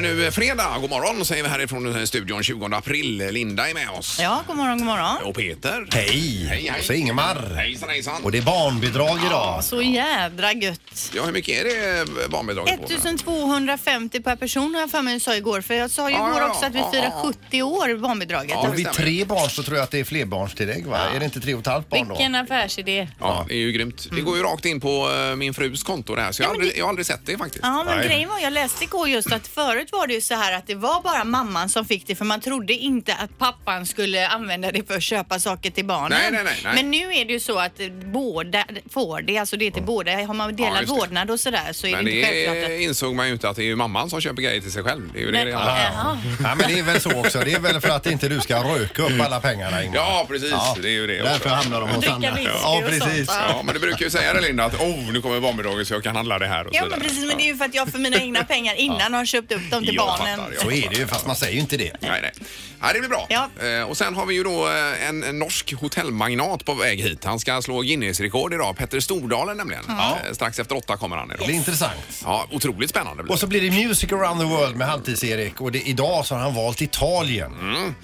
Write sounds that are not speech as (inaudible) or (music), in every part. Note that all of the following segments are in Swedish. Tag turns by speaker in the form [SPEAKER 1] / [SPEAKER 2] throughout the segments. [SPEAKER 1] nu fredag. God morgon säger vi härifrån eh, studion 20 april. Linda är med oss.
[SPEAKER 2] Ja, god morgon, god morgon.
[SPEAKER 1] Och Peter.
[SPEAKER 3] Hej!
[SPEAKER 1] Hej, hej.
[SPEAKER 3] Och så Ingemar.
[SPEAKER 1] Hejsan hejsan.
[SPEAKER 3] Och det är barnbidrag idag. alltså.
[SPEAKER 2] Så jädra gött.
[SPEAKER 1] Ja, hur mycket är det eh, barnbidraget på?
[SPEAKER 2] 1250 per person har jag för mig jag sa igår. För jag sa ju
[SPEAKER 1] Ja,
[SPEAKER 2] igår
[SPEAKER 1] ja,
[SPEAKER 2] också att vi
[SPEAKER 1] ja,
[SPEAKER 2] firar
[SPEAKER 1] ja.
[SPEAKER 2] 70 år barnbidraget.
[SPEAKER 1] Ja,
[SPEAKER 3] Har vi tre barn så tror jag att det är flerbarnstillägg va? Är det inte tre och ett halvt barn då?
[SPEAKER 4] Vilken affärsidé.
[SPEAKER 1] Ja, det är ju grymt.
[SPEAKER 2] Mm.
[SPEAKER 1] Det går ju rakt in på eh, min frus konto det här, så jag, har aldrig, jag har aldrig sett det faktiskt.
[SPEAKER 2] Ja, men
[SPEAKER 3] Nej.
[SPEAKER 2] grejen var, jag läste igår just att förut var det ju så här att det var bara mamman som fick det för man trodde inte att pappan skulle använda det för att köpa saker till barnen.
[SPEAKER 1] Nej, nej, nej, nej.
[SPEAKER 2] Men nu är det ju så att eh, båda får det, alltså det är till båda. Har man delat
[SPEAKER 1] just det.
[SPEAKER 2] vårdnad och sådär så är
[SPEAKER 1] Men
[SPEAKER 2] det inte
[SPEAKER 1] det
[SPEAKER 2] självklart att...
[SPEAKER 1] är, insåg man ju inte att det är ju mamman som köper grejer till sig själv. Det är ju det
[SPEAKER 4] Men-
[SPEAKER 1] det
[SPEAKER 4] Ja.
[SPEAKER 1] handlar om.
[SPEAKER 3] Ja. ja, men det är väl så också. Det är väl för att inte du ska röka upp alla pengarna Ingemar.
[SPEAKER 1] Ja, precis. Det är ju det också.
[SPEAKER 3] Därför hamnar de hos
[SPEAKER 4] Dricka
[SPEAKER 3] andra.
[SPEAKER 4] whisky
[SPEAKER 3] Ja,
[SPEAKER 4] och
[SPEAKER 3] precis.
[SPEAKER 4] sånt,
[SPEAKER 1] Ja, men du brukar ju säga det Linda att oh, nu kommer barnbidraget så jag kan handla det här och
[SPEAKER 2] Ja,
[SPEAKER 1] så
[SPEAKER 2] men
[SPEAKER 1] vidare.
[SPEAKER 2] precis, men det är ju för att jag
[SPEAKER 1] (laughs)
[SPEAKER 2] för mina egna pengar innan har köpt upp dem till
[SPEAKER 1] Jag
[SPEAKER 2] barnen.
[SPEAKER 1] fattar, jag
[SPEAKER 3] Så är det ju, fast man säger ju inte det.
[SPEAKER 1] Nej, nej. Ja, det blir bra.
[SPEAKER 2] Ja.
[SPEAKER 1] Eh, och sen har vi ju då eh, en, en norsk hotellmagnat på väg hit. Han ska slå Guinness-rekord idag. Petter Stordalen nämligen. Eh, strax efter åtta kommer han
[SPEAKER 3] Det
[SPEAKER 1] idag.
[SPEAKER 3] är intressant.
[SPEAKER 1] Ja, otroligt spännande. Blir.
[SPEAKER 3] Och så blir det Music around the world med Halvtids-Erik och det, idag så har han valt Italien.
[SPEAKER 1] Mm.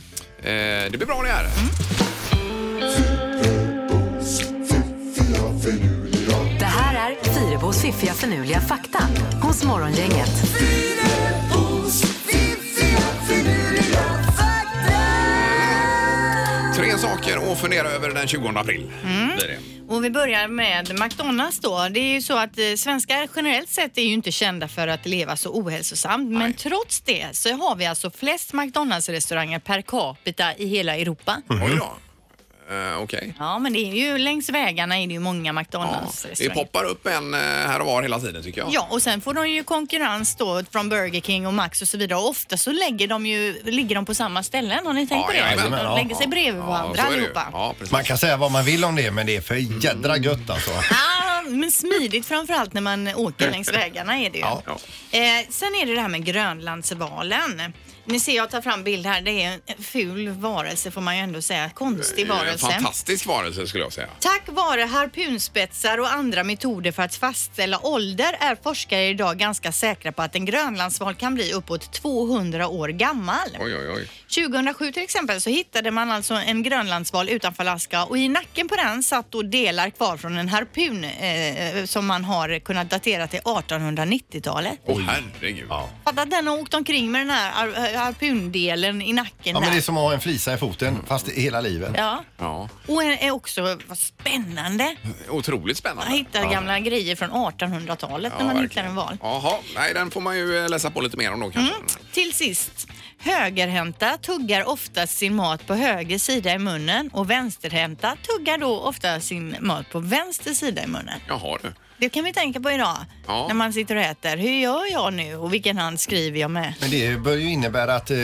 [SPEAKER 1] det. Eh, det blir bra det här.
[SPEAKER 5] Det här är Fyrabos fiffiga förnuliga fakta hos Morgongänget.
[SPEAKER 1] Tre saker att fundera över den 20 april.
[SPEAKER 2] Mm.
[SPEAKER 1] Blir det.
[SPEAKER 2] Och vi börjar med McDonalds då. Det är ju så att eh, svenskar generellt sett är ju inte kända för att leva så ohälsosamt. Men trots det så har vi alltså flest McDonalds-restauranger per capita i hela Europa.
[SPEAKER 1] Oj då. Eh, Okej.
[SPEAKER 2] Ja, men det är ju längs vägarna är det ju många
[SPEAKER 1] Ja, det
[SPEAKER 2] McDonalds-restauranger.
[SPEAKER 1] poppar upp en eh, här och var hela tiden tycker jag.
[SPEAKER 2] Ja, och sen får de ju konkurrens då från Burger King och Max och så vidare. Och ofta så lägger de ju, ligger de på samma ställen. Har ni tänkt
[SPEAKER 1] Ja,
[SPEAKER 2] på det?
[SPEAKER 1] jajamän,
[SPEAKER 2] de
[SPEAKER 3] ja.
[SPEAKER 2] lägger sig bredvid varandra
[SPEAKER 1] så är det ju.
[SPEAKER 2] allihopa.
[SPEAKER 1] Ja, precis.
[SPEAKER 3] Man kan säga vad man vill om det, men det är för jädra gött alltså.
[SPEAKER 2] Ah, men smidigt framförallt när man åker längs vägarna är det ju.
[SPEAKER 3] Ja.
[SPEAKER 1] Ja.
[SPEAKER 2] Eh, sen är det det här med Grönlandsvalen. Ni ser jag tar fram bild här. Det är en ful varelse får man ju ändå säga. Konstig
[SPEAKER 1] En
[SPEAKER 2] varelse.
[SPEAKER 1] Eh, fantastisk varelse skulle jag säga.
[SPEAKER 2] Tack vare harpunspetsar och andra metoder för att fastställa ålder är forskare idag ganska säkra på att en grönlandsval kan bli uppåt 200 år gammal.
[SPEAKER 1] Oj, oj, oj.
[SPEAKER 2] 2007 till exempel så hittade man alltså en grönlandsval utanför Alaska och i nacken på den satt då delar kvar från en harpun eh, som man har kunnat datera till 1890-talet.
[SPEAKER 1] Åh herregud. Ja.
[SPEAKER 2] Fatta att den har åkt omkring med den här har- eh, harpundelen i nacken
[SPEAKER 3] Ja, men det är
[SPEAKER 2] där.
[SPEAKER 3] som att ha en flisa i foten, fast i hela livet.
[SPEAKER 2] Ja. Och en är också vad spännande
[SPEAKER 1] Otroligt
[SPEAKER 2] att
[SPEAKER 1] spännande.
[SPEAKER 2] hitta gamla grejer från 1800-talet när
[SPEAKER 1] Ja,
[SPEAKER 2] man hittar
[SPEAKER 1] verkligen.
[SPEAKER 2] en val. Mm.
[SPEAKER 1] Jaha, nej den får man ju eh, läsa på lite mer om då kanske.
[SPEAKER 2] Till sist. Högerhänta tuggar oftast sin mat på höger sida i munnen och vänsterhänta tuggar då ofta sin mat på vänster sida i munnen.
[SPEAKER 1] Jaha du.
[SPEAKER 2] Det kan vi tänka på idag
[SPEAKER 1] Ja.
[SPEAKER 2] när man sitter och äter. Hur gör jag nu och vilken hand skriver jag med?
[SPEAKER 3] Men det bör ju innebära att, eh,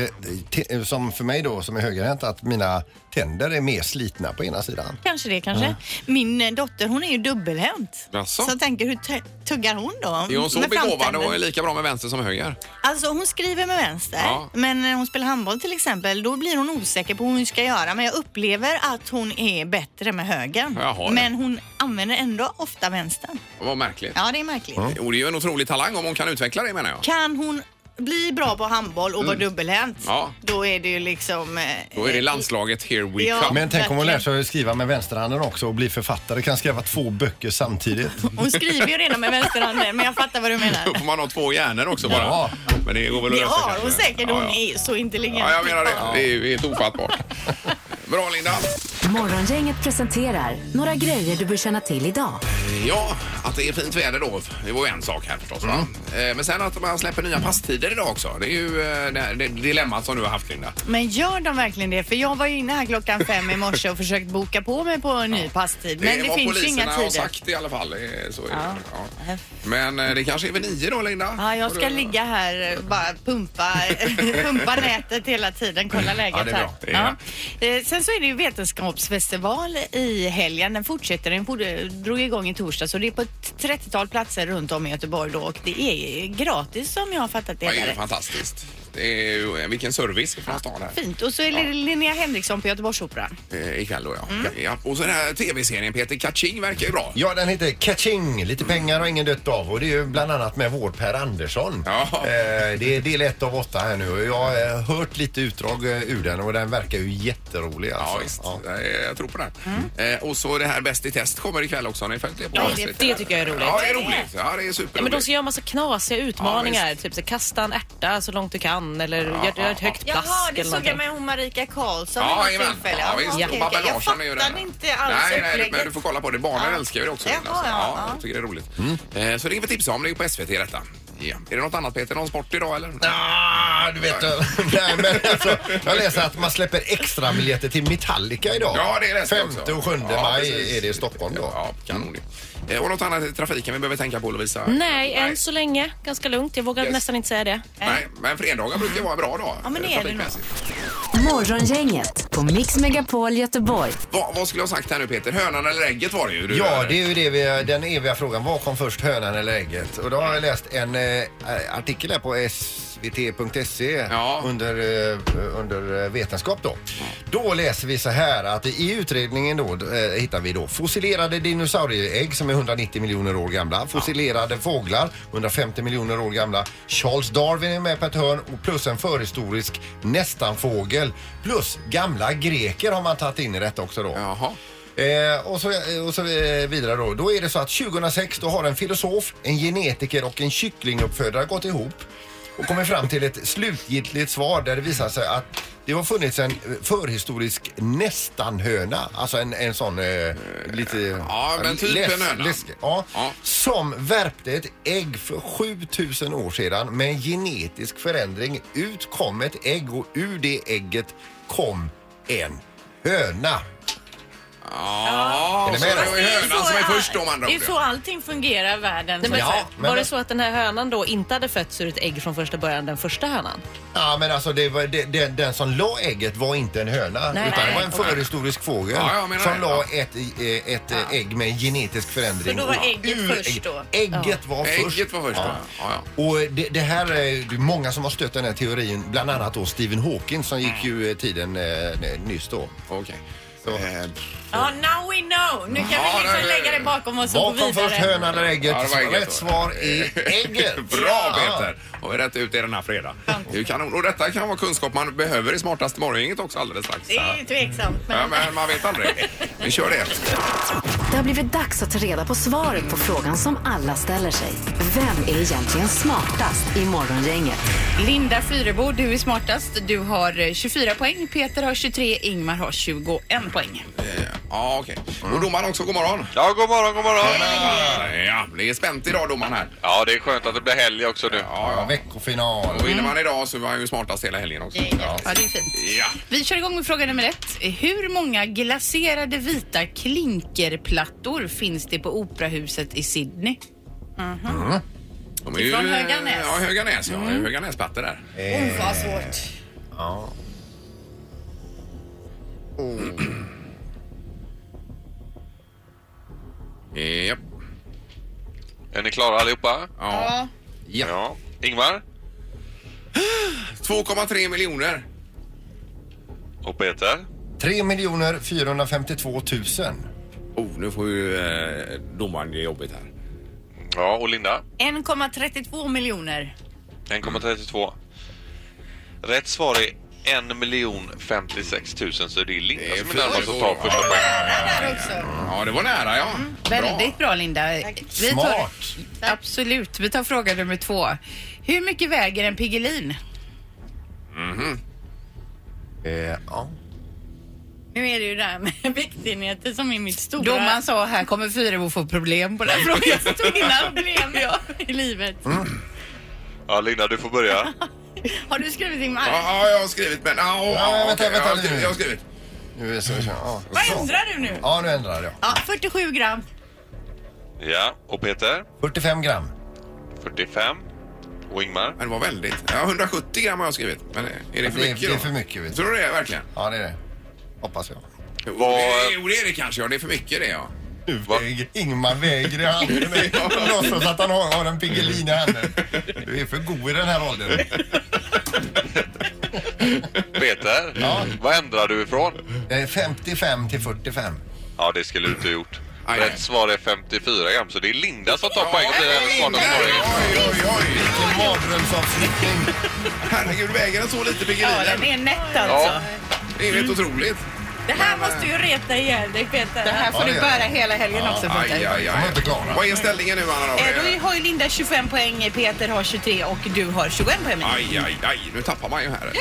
[SPEAKER 3] te- eh, som för mig då som är högerhänt, att mina tänder är mer slitna på ena sidan.
[SPEAKER 2] Kanske det, kanske. Min eh, dotter hon är ju dubbelhänt.
[SPEAKER 1] Jaså?
[SPEAKER 2] Så jag tänker, hur tu- tuggar hon då?
[SPEAKER 1] Är hon så
[SPEAKER 2] Mm. Med
[SPEAKER 1] begåvad
[SPEAKER 2] framtänden?
[SPEAKER 1] och är lika bra med vänster som höger?
[SPEAKER 2] Alltså hon skriver med vänster,
[SPEAKER 1] Ja.
[SPEAKER 2] men när hon spelar handboll till exempel, då blir hon osäker på hur hon ska göra. Men jag upplever att hon är bättre med högern.
[SPEAKER 1] Jaha, ja.
[SPEAKER 2] men hon använder ändå ofta vänstern.
[SPEAKER 1] Vad märkligt.
[SPEAKER 2] Ja, det är märkligt.
[SPEAKER 1] Och det är ju en otrolig talang om hon kan utveckla det menar jag.
[SPEAKER 2] Kan hon bli bra på handboll och vara dubbelhänt,
[SPEAKER 1] Mm. Ja.
[SPEAKER 2] då är det ju liksom... eh,
[SPEAKER 1] Då är det landslaget here we
[SPEAKER 2] Ja.
[SPEAKER 1] come.
[SPEAKER 3] Men tänk om hon lär
[SPEAKER 2] verkligen.
[SPEAKER 3] sig att skriva med vänsterhanden också och bli författare, kan skriva två böcker samtidigt.
[SPEAKER 2] Hon skriver ju redan med vänsterhanden, men jag fattar vad du
[SPEAKER 1] Då (laughs)
[SPEAKER 2] menar.
[SPEAKER 1] får man ha två hjärnor också bara.
[SPEAKER 3] Ja.
[SPEAKER 1] Men det går väl att
[SPEAKER 2] Det
[SPEAKER 1] lösa
[SPEAKER 2] har hon
[SPEAKER 1] kanske.
[SPEAKER 2] säkert,
[SPEAKER 1] Ja,
[SPEAKER 2] hon
[SPEAKER 1] ja.
[SPEAKER 2] är så intelligent.
[SPEAKER 1] Ja, jag menar det. Det är ju helt ofattbart. Bra Linda.
[SPEAKER 5] Morgongänget presenterar några grejer du bör känna till idag.
[SPEAKER 1] Ja, att det är fint väder då. Det var ju en sak här förstås. va?
[SPEAKER 3] Mm.
[SPEAKER 1] Eh, Men sen att man släpper nya passtider idag också. Det är ju eh, det, här, det dilemmat som du har haft Linda.
[SPEAKER 2] Men gör de verkligen det? För jag var ju inne här klockan fem i morse och försökt boka på mig på en ny passtid. Men
[SPEAKER 1] är
[SPEAKER 2] det,
[SPEAKER 1] vad
[SPEAKER 2] finns ju inga
[SPEAKER 1] poliserna har
[SPEAKER 2] tider.
[SPEAKER 1] sagt i alla fall. Eh, Så är det. Ja. Men eh, det kanske är vid nio då Linda?
[SPEAKER 2] Ja, jag
[SPEAKER 1] Får
[SPEAKER 2] ska
[SPEAKER 1] du-
[SPEAKER 2] ligga här och bara pumpa, (laughs) pumpa nätet hela tiden, kolla läget
[SPEAKER 1] Ja, det är bra. Det är
[SPEAKER 2] här. Ja. Eh, Sen så är det ju vetenskapsfestival i helgen. Den fortsätter, den for- drog igång i torsdag så det är på ett 30-tal platser runt om i Göteborg då och det är gratis som jag har fattat det
[SPEAKER 1] Ja, Det är ju
[SPEAKER 2] hela rätt.
[SPEAKER 1] fantastiskt. Det är ju, eh, vilken service från stan här.
[SPEAKER 2] Fint. Och så är det Linnea Henriksson på Göteborgsoperan.
[SPEAKER 1] Eh, Ikväll då ja. ja. Och så den här tv-serien Peter Kaching verkar ju bra.
[SPEAKER 3] (laughs) Ja, den heter Catching. Lite pengar och ingen dött av. Och det är ju bland annat med vår Per Andersson.
[SPEAKER 1] Ja.
[SPEAKER 3] Eh, det är del ett av åtta här nu. Och jag har eh, hört lite utdrag eh, ur den och den verkar ju jätterolig. Alltså.
[SPEAKER 1] Ja, visst. Eh, Jag tror på det. Eh, och så det här Bäst i test kommer ikväll också. Har ni följt det på
[SPEAKER 4] Ja,
[SPEAKER 1] SVT?
[SPEAKER 4] det- det tycker jag är roligt.
[SPEAKER 1] Ja, det är roligt. Ja, det är
[SPEAKER 4] Ja, men de
[SPEAKER 1] superroligt.
[SPEAKER 4] ska göra massa knasiga
[SPEAKER 1] Ja,
[SPEAKER 4] utmaningar.
[SPEAKER 1] visst.
[SPEAKER 4] typ så kasta en ärta så långt du kan eller
[SPEAKER 1] Ja,
[SPEAKER 4] gör,
[SPEAKER 1] ja,
[SPEAKER 4] gör ett högt plask.
[SPEAKER 2] Jaha, det
[SPEAKER 4] eller
[SPEAKER 2] såg jag
[SPEAKER 4] någonting.
[SPEAKER 2] med hon Marika Karlsson
[SPEAKER 1] Ja,
[SPEAKER 2] vid något
[SPEAKER 1] jajamän.
[SPEAKER 2] tillfälle.
[SPEAKER 1] Ja,
[SPEAKER 2] Jaha,
[SPEAKER 1] visst.
[SPEAKER 2] okej,
[SPEAKER 1] Och
[SPEAKER 2] okej.
[SPEAKER 1] Babben Larsson är ju
[SPEAKER 2] Jag
[SPEAKER 1] den.
[SPEAKER 2] fattade inte alls
[SPEAKER 1] nej, nej,
[SPEAKER 2] upplägget.
[SPEAKER 1] men du får kolla på det. Barnen
[SPEAKER 2] Ja.
[SPEAKER 1] älskar ju det också.
[SPEAKER 2] Jaha,
[SPEAKER 1] alltså.
[SPEAKER 2] ja, Mm. ja.
[SPEAKER 1] jag tycker det är roligt. Eh, så det kan vi tipsa om. Det är på SVT detta. Ja. Är det något annat Peter? Någon sport idag eller?
[SPEAKER 3] Ah, du vet, (laughs) nej, men alltså, jag läser att man släpper extra biljetter till Metallica idag.
[SPEAKER 1] Ja, det är det.
[SPEAKER 3] Femte och sjunde
[SPEAKER 1] Ja,
[SPEAKER 3] maj
[SPEAKER 1] precis.
[SPEAKER 3] är det i Stockholm då.
[SPEAKER 1] Ja, kanon ju. Eh, Och något annat i trafiken vi behöver tänka på Lovisa?
[SPEAKER 4] Nej, än så länge. Ganska lugnt. Jag vågar
[SPEAKER 1] Yes.
[SPEAKER 4] nästan inte säga det.
[SPEAKER 1] Nej, men fredagar brukar ju vara en bra dag.
[SPEAKER 2] Ja, men
[SPEAKER 1] eh,
[SPEAKER 2] det är det
[SPEAKER 1] trafikmässigt.
[SPEAKER 5] Morgongänget på Mix Megapol Göteborg.
[SPEAKER 1] Vad, vad skulle jag ha sagt här nu Peter? Hönan eller ägget var det ju. Du,
[SPEAKER 3] Ja, det är ju det vi, den eviga frågan. Vad kom först, hönan eller ägget? Och då har jag läst en eh, artikel här på svt.se
[SPEAKER 1] Ja.
[SPEAKER 3] E under, eh, under eh, vetenskap då. Då läser vi så här att i utredningen då eh, hittar vi då fossilerade dinosaurieägg som är 190 miljoner år gamla, fossilerade fåglar 150 miljoner år gamla, Charles Darwin är med på ett hörn och plus en förhistorisk nästan-fågel plus gamla greker har man tagit in i detta också då.
[SPEAKER 1] Jaha.
[SPEAKER 3] Eh, och så, eh, och så eh, vidare då. Då är det så att 2006 då har en filosof, en genetiker och en kycklinguppfödare gått ihop och kommit fram till ett slutgiltigt svar där det visar sig att det har funnits en eh, förhistorisk nästan-höna, alltså en, en sån eh, lite... eh,
[SPEAKER 1] Ja, men typ en höna.
[SPEAKER 3] ja,
[SPEAKER 1] Ja.
[SPEAKER 3] Som värpte ett ägg för 7000 år sedan med en genetisk förändring. Ut kom ett ägg och ur det ägget kom en höna.
[SPEAKER 1] Ja,
[SPEAKER 3] Är ni
[SPEAKER 1] så
[SPEAKER 3] med
[SPEAKER 1] det
[SPEAKER 3] då?
[SPEAKER 1] var ju hönan som är först om andra
[SPEAKER 2] Det är
[SPEAKER 1] ord.
[SPEAKER 2] så allting fungerar i världen.
[SPEAKER 4] Nej, men,
[SPEAKER 3] Ja,
[SPEAKER 4] så här,
[SPEAKER 3] men-
[SPEAKER 4] var det så att den här hönan då inte hade fötts ur ett ägg från första början, den första hönan?
[SPEAKER 3] Ja men alltså det var, det, det, den som la ägget var inte en höna
[SPEAKER 4] Nej,
[SPEAKER 3] utan det var
[SPEAKER 4] nej,
[SPEAKER 3] en
[SPEAKER 1] okej.
[SPEAKER 3] förhistorisk fågel
[SPEAKER 1] Ja, jag menar
[SPEAKER 3] som
[SPEAKER 1] det,
[SPEAKER 3] la
[SPEAKER 1] ja.
[SPEAKER 3] ett, i- eh, ett eh, ägg med en genetisk förändring.
[SPEAKER 2] Så då var
[SPEAKER 3] Och
[SPEAKER 2] ägget
[SPEAKER 3] ur
[SPEAKER 2] först
[SPEAKER 3] ägget-
[SPEAKER 2] då?
[SPEAKER 3] Ägget var
[SPEAKER 1] Ägget
[SPEAKER 3] först.
[SPEAKER 1] var först, ja. Ja,
[SPEAKER 3] Och det, det här är det är många som har stött den här teorin, bland annat då Stephen Hawking som gick ju eh, tiden eh, nyss då.
[SPEAKER 1] Okej.
[SPEAKER 3] Så.
[SPEAKER 1] Eh,
[SPEAKER 2] Ja, now we know. Nu kan
[SPEAKER 1] Ja,
[SPEAKER 2] vi
[SPEAKER 1] det-
[SPEAKER 2] liksom lägga det bakom oss och gå
[SPEAKER 3] Vad kom
[SPEAKER 2] vidare.
[SPEAKER 3] först hönan eller ägget?
[SPEAKER 1] Ja, det var ägget
[SPEAKER 3] Rätt
[SPEAKER 1] då.
[SPEAKER 3] svar är
[SPEAKER 1] (laughs)
[SPEAKER 3] ägget.
[SPEAKER 1] Bra Peter! Har vi rätt ut i den här fredag. Det är ju kanon. Och detta kan vara kunskap man behöver i smartaste morgongänget också alldeles strax.
[SPEAKER 2] Det är ju tveksamt. Men...
[SPEAKER 1] Ja, men man vet aldrig. Vi kör det.
[SPEAKER 5] Det har blivit dags att ta reda på svaret på frågan som alla ställer sig. Vem är egentligen smartast i Morgongänget?
[SPEAKER 6] Linda Fyrebo, du är smartast. Du har eh, 24 poäng, Peter har 23, Ingmar har 21 poäng.
[SPEAKER 1] Eh, Ja, okej. Och domaren också, god morgon.
[SPEAKER 7] Mm. Ja, god morgon, god morgon.
[SPEAKER 1] Ja, det är spänt idag domaren här.
[SPEAKER 7] Ja, det är skönt att det blir helg också nu.
[SPEAKER 3] Ja, veckofinal.
[SPEAKER 1] Och
[SPEAKER 7] Mm.
[SPEAKER 1] vinner man idag så var han ju smartast hela helgen också. Ja.
[SPEAKER 6] Ja, det är fint.
[SPEAKER 1] Ja.
[SPEAKER 6] Vi kör igång med fråga nummer ett. Hur många glaserade vita klinkerplattor finns det på Operahuset i Sydney?
[SPEAKER 1] De är ju,
[SPEAKER 6] Från Höganäs.
[SPEAKER 1] Ja, Höganäs. Ja. Höganäsplattor där.
[SPEAKER 2] Oh, vad svårt.
[SPEAKER 3] Ja.
[SPEAKER 1] Eh, Japp.
[SPEAKER 7] Är ni klara allihopa?
[SPEAKER 1] Ja.
[SPEAKER 3] Ja.
[SPEAKER 7] Ja. Ingmar?
[SPEAKER 1] 2,3 miljoner.
[SPEAKER 7] Och Peter?
[SPEAKER 3] 3 452 000.
[SPEAKER 1] Oh, nu får ju eh, domaren ge jobbet här.
[SPEAKER 7] Ja, och Linda?
[SPEAKER 2] 1,32 miljoner.
[SPEAKER 7] 1,32. Rätt svar är 1 miljon 56 000, så det är Linda som är närmast att ta första poängen.
[SPEAKER 2] Där också.
[SPEAKER 1] Ja, det var nära ja.
[SPEAKER 4] Mm,
[SPEAKER 6] Väldigt bra Linda. Vi tar,
[SPEAKER 3] Smart.
[SPEAKER 6] absolut. Vi tar fråga nummer två. Hur mycket väger en Piggelin?
[SPEAKER 3] Eh, ja.
[SPEAKER 2] Nu är det ju det här med (laughs) viktenheter som är mitt stora...
[SPEAKER 6] Domaren sa här kommer Fyrebo få problem på den frågan.
[SPEAKER 2] (laughs) Jag tog innan problem jag i livet.
[SPEAKER 7] Ja, Linda, du får börja. (laughs)
[SPEAKER 2] Har du skrivit in
[SPEAKER 1] Ja,
[SPEAKER 2] mig?
[SPEAKER 1] ja, jag har skrivit men... Ja, oh,
[SPEAKER 3] Ja, vänta, vänta
[SPEAKER 1] jag, har
[SPEAKER 3] nu.
[SPEAKER 1] skrivit, jag har skrivit.
[SPEAKER 3] Nu är så, ja.
[SPEAKER 2] Vad ändrar du nu?
[SPEAKER 3] ja, nu ändrar jag.
[SPEAKER 2] Ja, 47 gram.
[SPEAKER 7] Ja, och Peter?
[SPEAKER 3] 45 gram.
[SPEAKER 7] 45. Och Ingmar?
[SPEAKER 1] Men det var väldigt. Ja, 170 gram har jag skrivit. Men är det för
[SPEAKER 3] Det är-
[SPEAKER 1] mycket
[SPEAKER 3] det är
[SPEAKER 1] då?
[SPEAKER 3] för mycket, vet du.
[SPEAKER 1] Tror du det verkligen?
[SPEAKER 3] Ja, det är det. Hoppas jag.
[SPEAKER 1] Jo,
[SPEAKER 7] Vad-
[SPEAKER 1] det- Jo, det är det kanske. Ja, det är för mycket det ja.
[SPEAKER 3] Nu väger Ingmar väger i handen.
[SPEAKER 1] (laughs) Ja.
[SPEAKER 3] Låtsas att han har, har en Piggelin i handen. Du är för god i den här åldern.
[SPEAKER 7] Peter, vad ändrar du ifrån?
[SPEAKER 3] Eh, 55 till 45.
[SPEAKER 7] Ja, det skulle du inte ha gjort.
[SPEAKER 1] Aj,
[SPEAKER 7] Rätt
[SPEAKER 1] aj.
[SPEAKER 7] svar är 52 gram, så det är Linda som tar poäng till hennes smartaste poäng.
[SPEAKER 1] Oj, oj, oj.
[SPEAKER 3] Vilken mardrömsavslutning.
[SPEAKER 1] Herregud, väger den så lite
[SPEAKER 4] Ja,
[SPEAKER 1] piggelinen?
[SPEAKER 4] den är nätt alltså.
[SPEAKER 7] Ja,
[SPEAKER 1] Det är ju helt otroligt.
[SPEAKER 4] Det här måste ju reta ihjäl dig Peter.
[SPEAKER 6] Det här får
[SPEAKER 3] Ja,
[SPEAKER 6] du
[SPEAKER 3] det gör
[SPEAKER 6] bära hela helgen också
[SPEAKER 1] Aj,
[SPEAKER 6] Peter.
[SPEAKER 1] aj,
[SPEAKER 3] De är
[SPEAKER 1] aj.
[SPEAKER 3] inte klara.
[SPEAKER 1] Vad är ställningen nu, Anna? Då?
[SPEAKER 4] Eh, Då har ju Linda 25 poäng, Peter har 23 och du har 21 poäng.
[SPEAKER 1] Aj, aj, aj. Nu tappar man ju här.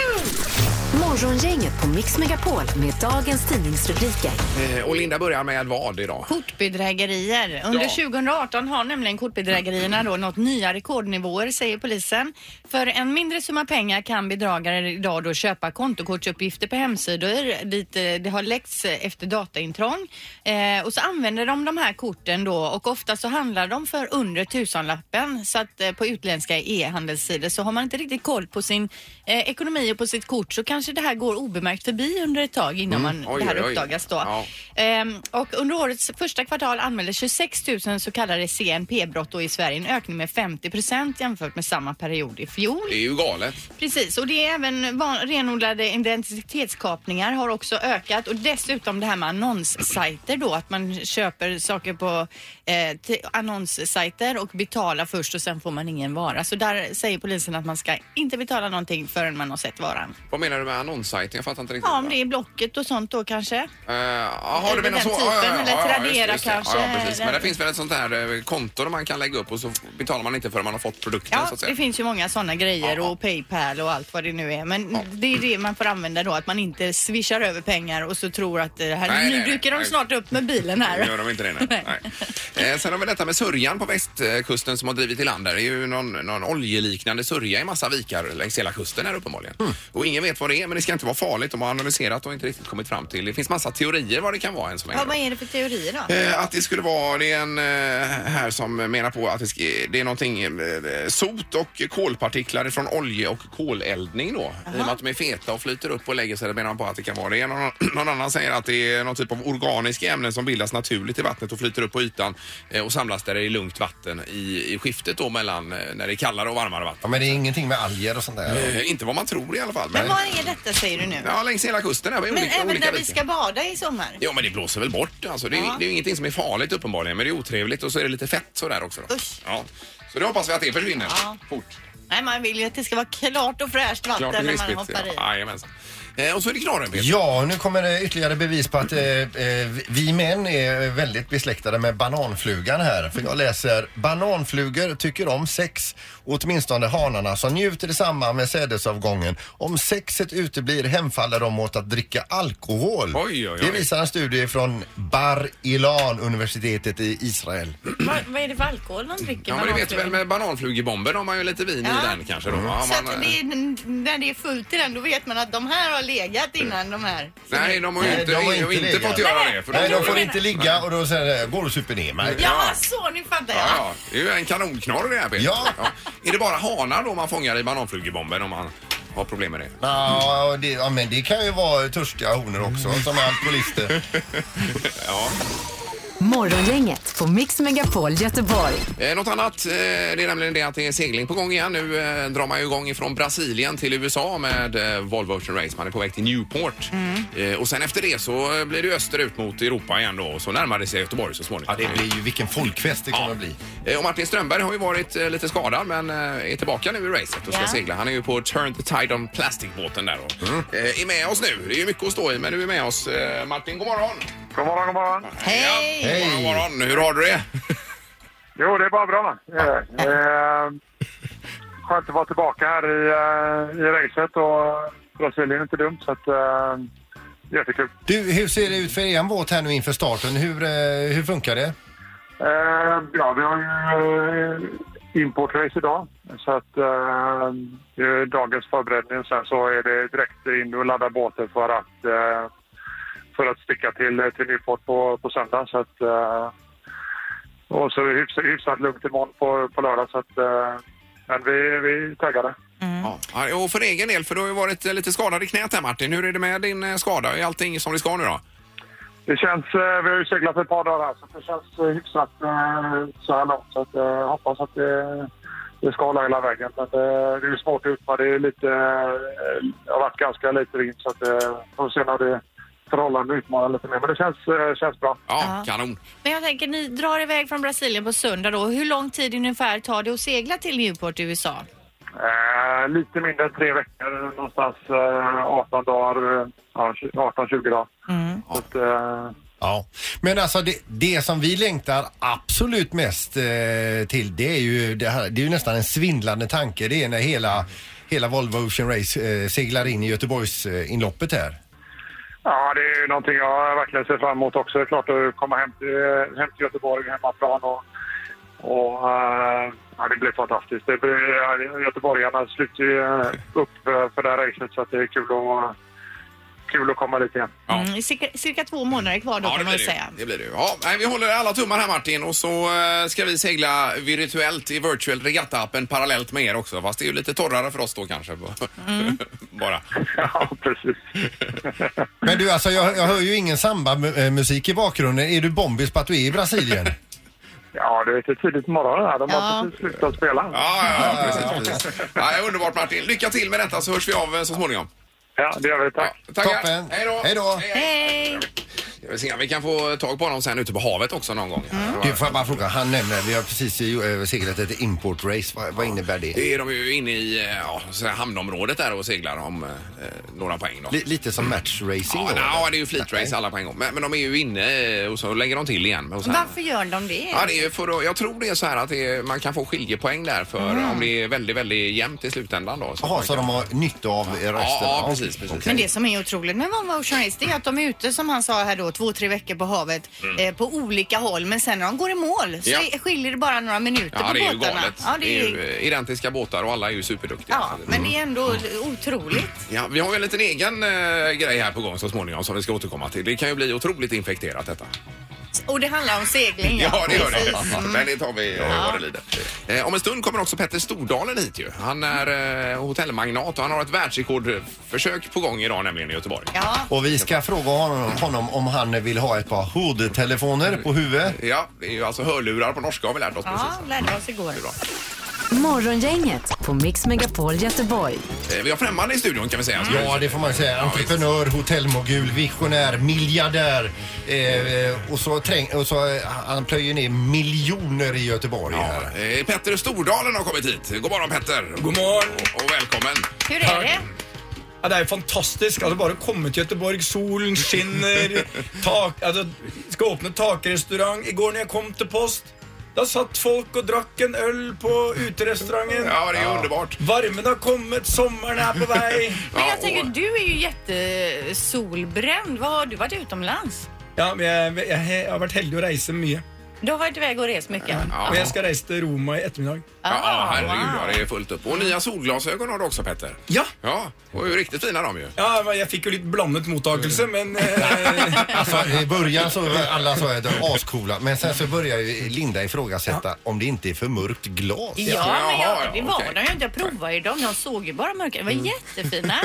[SPEAKER 5] Morgongänget på Mix Megapol med dagens tidningsrubriker.
[SPEAKER 1] Eh, Och Linda börjar med vad idag?
[SPEAKER 2] Kortbedrägerier. Under
[SPEAKER 1] Ja.
[SPEAKER 2] 2018 har nämligen kortbedrägerierna då nått nya rekordnivåer säger polisen. För en mindre summa pengar kan bedragare idag då köpa kontokortsuppgifter på hemsidor dit eh, det har läckts eh, efter dataintrång. Eh, och så använder de de här korten då och ofta så handlar de för under tusenlappen så att eh, på utländska e-handelssidor så har man inte riktigt koll på sin eh, ekonomi och på sitt kort så kanske det här går obemärkt förbi under ett tag innan man,
[SPEAKER 1] Mm. oj,
[SPEAKER 2] det här
[SPEAKER 1] oj, oj.
[SPEAKER 2] uppdagas då.
[SPEAKER 1] Ja.
[SPEAKER 2] Ehm, och under årets första kvartal anmäldes 26 000 så kallade CNP-brott då i Sverige, en ökning med 50 procent jämfört med samma period i fjol.
[SPEAKER 1] Det är ju galet.
[SPEAKER 2] Precis, och det är även van- renodlade identitetskapningar har också ökat och dessutom det här med annonssajter då, att man köper saker på eh, t- annonssajter och betalar först och sen får man ingen vara. Så där säger polisen att man ska inte betala någonting förrän man har sett varan.
[SPEAKER 1] Vad menar du med annonssajten? Jag fattar inte riktigt.
[SPEAKER 2] Ja, om det är Blocket och sånt då kanske.
[SPEAKER 1] Eh, Jaha, du
[SPEAKER 2] Eller
[SPEAKER 1] menar
[SPEAKER 2] den
[SPEAKER 1] så?
[SPEAKER 2] typen, eller Tradera
[SPEAKER 1] det.
[SPEAKER 2] kanske,
[SPEAKER 1] Ja, ja, precis. Men
[SPEAKER 2] eller-
[SPEAKER 1] det finns väl ett sånt här eh, konto där man kan lägga upp och så betalar man inte förrän man har fått produkten
[SPEAKER 2] Ja,
[SPEAKER 1] så att säga.
[SPEAKER 2] det finns ju många sådana grejer och Paypal och allt vad det nu är. Men det är det man får använda då, att man inte swishar över pengar och så tror att eh, här,
[SPEAKER 1] Nej,
[SPEAKER 2] nu
[SPEAKER 1] nej, nej,
[SPEAKER 2] dyker de
[SPEAKER 1] nej.
[SPEAKER 2] snart upp med bilen här.
[SPEAKER 1] Gör de inte det?
[SPEAKER 2] (laughs)
[SPEAKER 1] Nej. nej. Eh, sen har vi detta med sörjan på västkusten som har drivit i land. Där. Det är ju någon, någon oljeliknande sörja i massa vikar längs hela kusten här uppenbarligen. Och ingen vet vad det är, men det ska inte vara farligt. De har analyserat och inte riktigt kommit fram till. Det finns massa teorier vad det kan vara än så länge.
[SPEAKER 2] Ja, vad är det för teorier då?
[SPEAKER 1] Eh, Att det skulle vara, det är en eh, här som menar på att det, ska, det är någonting eh, sot och kolpartiklar från olje och koleldning då. I och med att de är feta och flyter upp och lägger sig, det menar man på att det kan vara det. Någon, (clears throat) någon annan säger att det är någon typ av organiska ämnen som bildas naturligt i vattnet och flyter upp på ytan eh, och samlas där i lugnt vatten i, i skiftet då mellan eh, när det är kallare och varmare
[SPEAKER 3] Ja,
[SPEAKER 1] vatten.
[SPEAKER 3] men det är ingenting med alger och sånt där.
[SPEAKER 1] Eh, Inte vad man tror i alla fall.
[SPEAKER 2] Men var är detta säger du nu?
[SPEAKER 1] Ja, längs hela kusten här. i
[SPEAKER 2] Men
[SPEAKER 1] olika,
[SPEAKER 2] även
[SPEAKER 1] olika
[SPEAKER 2] när vi
[SPEAKER 1] vikar.
[SPEAKER 2] ska bada i sommar?
[SPEAKER 1] Ja, men det blåser väl bort. Alltså, det, är,
[SPEAKER 2] Ja.
[SPEAKER 1] det är ju ingenting som är farligt uppenbarligen, men det är otrevligt och så är det lite fett sådär också. Då.
[SPEAKER 2] Usch.
[SPEAKER 1] Ja. Så det hoppas vi att det försvinner
[SPEAKER 2] Ja.
[SPEAKER 1] fort.
[SPEAKER 2] Nej, man vill ju att det ska vara klart och fräscht vatten
[SPEAKER 1] Klart och
[SPEAKER 2] när man
[SPEAKER 1] krispigt.
[SPEAKER 2] hoppar i.
[SPEAKER 1] Ja, jajamensan. Eh, och så är det knorren, Peter.
[SPEAKER 3] Ja, nu kommer det ytterligare bevis på att eh, eh, vi män är väldigt besläktade med bananflugan här. För jag läser bananflugor tycker om sex, åtminstone hanarna som njuter i samband med sädesavgången. Om sexet uteblir hemfaller de åt att dricka alkohol.
[SPEAKER 1] Oj, oj, oj.
[SPEAKER 3] Det visar en studie från Bar Ilan, universitetet i Israel.
[SPEAKER 4] Vad, vad är det för alkohol de dricker?
[SPEAKER 1] Ja, men det vet du väl med
[SPEAKER 4] Bananflugan?
[SPEAKER 1] bananflugebomben har man ju lite vin i den kanske då. Ja,
[SPEAKER 2] Mm. Så att
[SPEAKER 1] man, eh,
[SPEAKER 2] det är, när det är fullt i den, då vet man att de här har legat innan de här.
[SPEAKER 1] Nej, de har ju
[SPEAKER 3] Nej,
[SPEAKER 1] inte,
[SPEAKER 3] de har
[SPEAKER 1] inte,
[SPEAKER 3] inte
[SPEAKER 1] inte
[SPEAKER 3] legat.
[SPEAKER 1] fått göra det. För
[SPEAKER 3] Nej,
[SPEAKER 1] då-
[SPEAKER 3] de får inte ligga och då säger de, går och super ner mig.
[SPEAKER 2] Ja, så nu fattar
[SPEAKER 1] Ja,
[SPEAKER 2] jag.
[SPEAKER 1] ja, det är ju en kanonknorr det här Peter.
[SPEAKER 3] Ja.
[SPEAKER 1] Är det bara hanar då man fångar i bananflugebomben om man har problem med det?
[SPEAKER 3] Ja, och det, ja, men det kan ju vara törstiga honor också som är alkoholister.
[SPEAKER 1] Ja.
[SPEAKER 5] Morgongänget på Mix Megapol Göteborg.
[SPEAKER 1] Eh, något annat, eh, det är nämligen det att det är segling på gång igen. Nu eh, drar man ju igång ifrån Brasilien till USA med eh, Volvo Ocean Race. Man är på väg till Newport.
[SPEAKER 3] Mm.
[SPEAKER 1] Eh, och sen efter det så eh, blir det österut mot Europa igen då och så närmar det sig Göteborg så småningom.
[SPEAKER 3] Ja, det blir ju vilken folkfest det kommer att bli.
[SPEAKER 1] Eh, Och Martin Strömberg har ju varit eh, lite skadad men eh, är tillbaka nu i racet och ska
[SPEAKER 2] Ja.
[SPEAKER 1] segla. Han är ju på Turn the Tide on Plastic-båten där då.
[SPEAKER 3] Mm.
[SPEAKER 1] Eh, Är med oss nu. Det är ju mycket att stå i men nu är med oss eh, Martin. God morgon!
[SPEAKER 8] God morgon, god morgon.
[SPEAKER 2] Hej!
[SPEAKER 1] Ja, God morgon! Hur har du det?
[SPEAKER 8] Jo, det är bara bra. va? Det är det. Eh, Skönt att vara tillbaka här i, eh, i racet och Brasilien är inte dumt så att eh, jättekul.
[SPEAKER 3] Du, hur ser det ut för er båt här nu inför starten? Hur, eh, hur funkar det?
[SPEAKER 8] Eh, ja, vi har ju eh, importrace idag så att eh, det är dagens förberedning sen så är det direkt in och ladda båten för att eh, för att sticka till, till Newport på, på söndag så att eh, och så är det hyfsat, hyfsat lugnt imorgon på, på lördag så att eh, men vi, vi är taggade.
[SPEAKER 1] Ja, och för egen del, för du har ju varit eh, lite skadad i knät här Martin. Hur är det med din eh, skada? Är allting som det ska nu då?
[SPEAKER 8] Det känns, eh, vi har ju seglat ett par dagar här, så det känns eh, hyfsat eh, så här långt. Så att, eh, hoppas att det
[SPEAKER 9] Det ska hålla hela vägen. Men eh, det är ju svårt att utföra. Det är lite, eh, det har varit ganska lite vind så att eh, får se när det förhållande utmanar lite mer. Men det känns, eh, känns bra.
[SPEAKER 1] Ja, kanon.
[SPEAKER 2] Men jag tänker, ni drar iväg från Brasilien på söndag då. Hur lång tid ungefär tar det att segla till Newport i USA?
[SPEAKER 9] Eh, lite mindre än tre veckor, någonstans eh, 18 dagar, eh, ja, 18-20 dagar.
[SPEAKER 2] Mm.
[SPEAKER 9] Så att, eh,
[SPEAKER 3] Ja, men alltså det, det som vi längtar absolut mest eh, till det är ju det här, det är ju nästan en svindlande tanke. Det är när hela, hela Volvo Ocean Race eh, seglar in i Göteborgs eh, inloppet här.
[SPEAKER 9] Ja, det är ju någonting jag verkligen ser fram emot också. Det är klart att komma hem till, hem till Göteborg, hemmaplan och, och eh, ja, det blir fantastiskt. Det blir, ja, göteborgarna sluter ju eh, upp eh, för det här racet så att det är kul att, kul att komma dit igen. (laughs)
[SPEAKER 1] Ja.
[SPEAKER 2] Mm, cirka, cirka två månader kvar då
[SPEAKER 1] Ja, det
[SPEAKER 2] kan man
[SPEAKER 1] blir
[SPEAKER 2] väl
[SPEAKER 1] det.
[SPEAKER 2] säga.
[SPEAKER 1] det blir det. Ja, nej, vi håller alla tummar här Martin och så eh, ska vi segla virtuellt i virtual regatta-appen parallellt med er också. Fast det är ju lite torrare för oss då kanske. (laughs)
[SPEAKER 2] Mm.
[SPEAKER 1] Bara.
[SPEAKER 9] Ja, precis.
[SPEAKER 3] Men du alltså jag, jag hör ju ingen samba-musik i bakgrunden. Är du bombis på att du är i Brasilien?
[SPEAKER 9] Ja, det är lite tidigt på morgonen här. De har
[SPEAKER 2] Ja.
[SPEAKER 9] precis slutat spela.
[SPEAKER 1] Ja, ja, ja, precis, precis. Ja, underbart Martin. Lycka till med detta så hörs vi av eh, så småningom.
[SPEAKER 9] Ja, det gör vi. Tack.
[SPEAKER 1] Ja, tackar.
[SPEAKER 3] Toppen.
[SPEAKER 1] Hej då.
[SPEAKER 3] Hej då.
[SPEAKER 2] Hej!
[SPEAKER 1] Jag vill se om vi kan få tag på honom sen ute på havet också någon gång.
[SPEAKER 2] Mm.
[SPEAKER 3] Du får jag bara fråga, han nämner, vi har precis eh, seglat ett import-race. Vad, vad innebär det?
[SPEAKER 1] Det är de ju inne i eh, ja, så här hamnområdet där och seglar om eh, några poäng. Då.
[SPEAKER 3] Li- lite som matchracing
[SPEAKER 1] Ja,
[SPEAKER 3] då,
[SPEAKER 1] nej,
[SPEAKER 3] eller?
[SPEAKER 1] ja, det är ju fleetrace alla på en gång. Men, men de är ju inne eh, och så lägger de till igen. Och sen,
[SPEAKER 2] Varför gör de det?
[SPEAKER 1] Ja, det är ju för att, jag tror det är så här att det är, man kan få skiljepoäng där för
[SPEAKER 2] Ah.
[SPEAKER 1] om det är väldigt, väldigt jämnt i slutändan då. Så
[SPEAKER 3] Jaha,
[SPEAKER 1] man
[SPEAKER 3] så
[SPEAKER 1] kan-
[SPEAKER 3] de har nytta av eh, resten?
[SPEAKER 1] Ja, ja, precis, precis.
[SPEAKER 3] okej.
[SPEAKER 2] Men det som är otroligt med Volvo Ocean Race det är att de är ute som han sa här då två, tre veckor på havet eh, på olika håll men sen när de går i mål så
[SPEAKER 1] Mm. Ja.
[SPEAKER 2] är- skiljer det bara några minuter
[SPEAKER 1] Ja,
[SPEAKER 2] på
[SPEAKER 1] det är ju
[SPEAKER 2] båtarna.
[SPEAKER 1] galet.
[SPEAKER 2] Ja, det är
[SPEAKER 1] ju eh, identiska båtar och alla är ju superduktiga.
[SPEAKER 2] Ja,
[SPEAKER 1] Så det-
[SPEAKER 2] men det är ändå
[SPEAKER 1] Mm.
[SPEAKER 2] otroligt.
[SPEAKER 1] Ja, vi har ju en liten egen eh, grej här på gång så småningom som vi ska återkomma till. Det kan ju bli otroligt infekterat detta.
[SPEAKER 2] Och det handlar om segling.
[SPEAKER 1] Ja, det gör
[SPEAKER 2] Precis.
[SPEAKER 1] det. Men det tar vi eh, vad det lider. Eh, om en stund kommer också Petter Stordalen hit ju. Han är eh, hotellmagnat och han har ett världsrekordförsök på gång idag nämligen i Göteborg.
[SPEAKER 2] Ja,
[SPEAKER 3] Och vi ska fråga honom, honom om han vill ha ett par hoodtelefoner på huvudet.
[SPEAKER 1] Ja, det är ju alltså hörlurar på norska har vi lärt oss
[SPEAKER 2] ja
[SPEAKER 1] precis.
[SPEAKER 2] lärde oss igår.
[SPEAKER 5] Morgongänget på Mix Megapol Göteborg.
[SPEAKER 1] Eh, Vi har främmande i studion kan vi säga.
[SPEAKER 3] Ja, det får man säga. Entreprenör, hotellmogul, visionär, miljardär. Eh, eh, och så, träng, och så eh, han plöjer ner miljoner i Göteborg
[SPEAKER 1] Ja,
[SPEAKER 3] här.
[SPEAKER 1] eh, Petter Stordalen har kommit hit. God morgon Petter! God morgon! Och, och välkommen!
[SPEAKER 2] Hur är det?
[SPEAKER 10] Ja, det er jo fantastisk. Altså, bare å komme til Göteborg, solen skinner tak, altså, Skal åpne takrestaurant. I går når jeg kom til post, da satt folk og drakk en øl på uterestauranten.
[SPEAKER 1] Ja, det är ju underbart.
[SPEAKER 10] Varmen har kommet, sommeren er på vei.
[SPEAKER 2] Men
[SPEAKER 1] Ja,
[SPEAKER 2] jag tänker, du är ju jättesolbränd. Vad har du varit utomlands?
[SPEAKER 10] Ja, men jeg, jeg, jeg har vært heldig å reise mye.
[SPEAKER 2] Du har varit iväg och rest mycket.
[SPEAKER 1] Ja,
[SPEAKER 10] Og jeg skal reise til Roma i ettermiddag.
[SPEAKER 1] ja, ja, herregud,
[SPEAKER 2] Ah, wow.
[SPEAKER 1] ja, det är fullt upp. Och nya solglasögon har du också Petter.
[SPEAKER 10] Ja!
[SPEAKER 1] Ja, och är ju riktigt fina de ju.
[SPEAKER 10] ja men jeg fikk jo litt blandet mottakelse, men eh,
[SPEAKER 3] Alltså, I början så var alla så att de var ascoola men sen så börjar ju Linda ifrågasätta om det inte är för mörkt glas.
[SPEAKER 2] Ja, men
[SPEAKER 1] Jaha, ja,
[SPEAKER 2] jag, det var
[SPEAKER 1] okej. Mm.
[SPEAKER 2] de ju inte. Jag provade ju dem. De såg ju bara mörka. De var jättefina.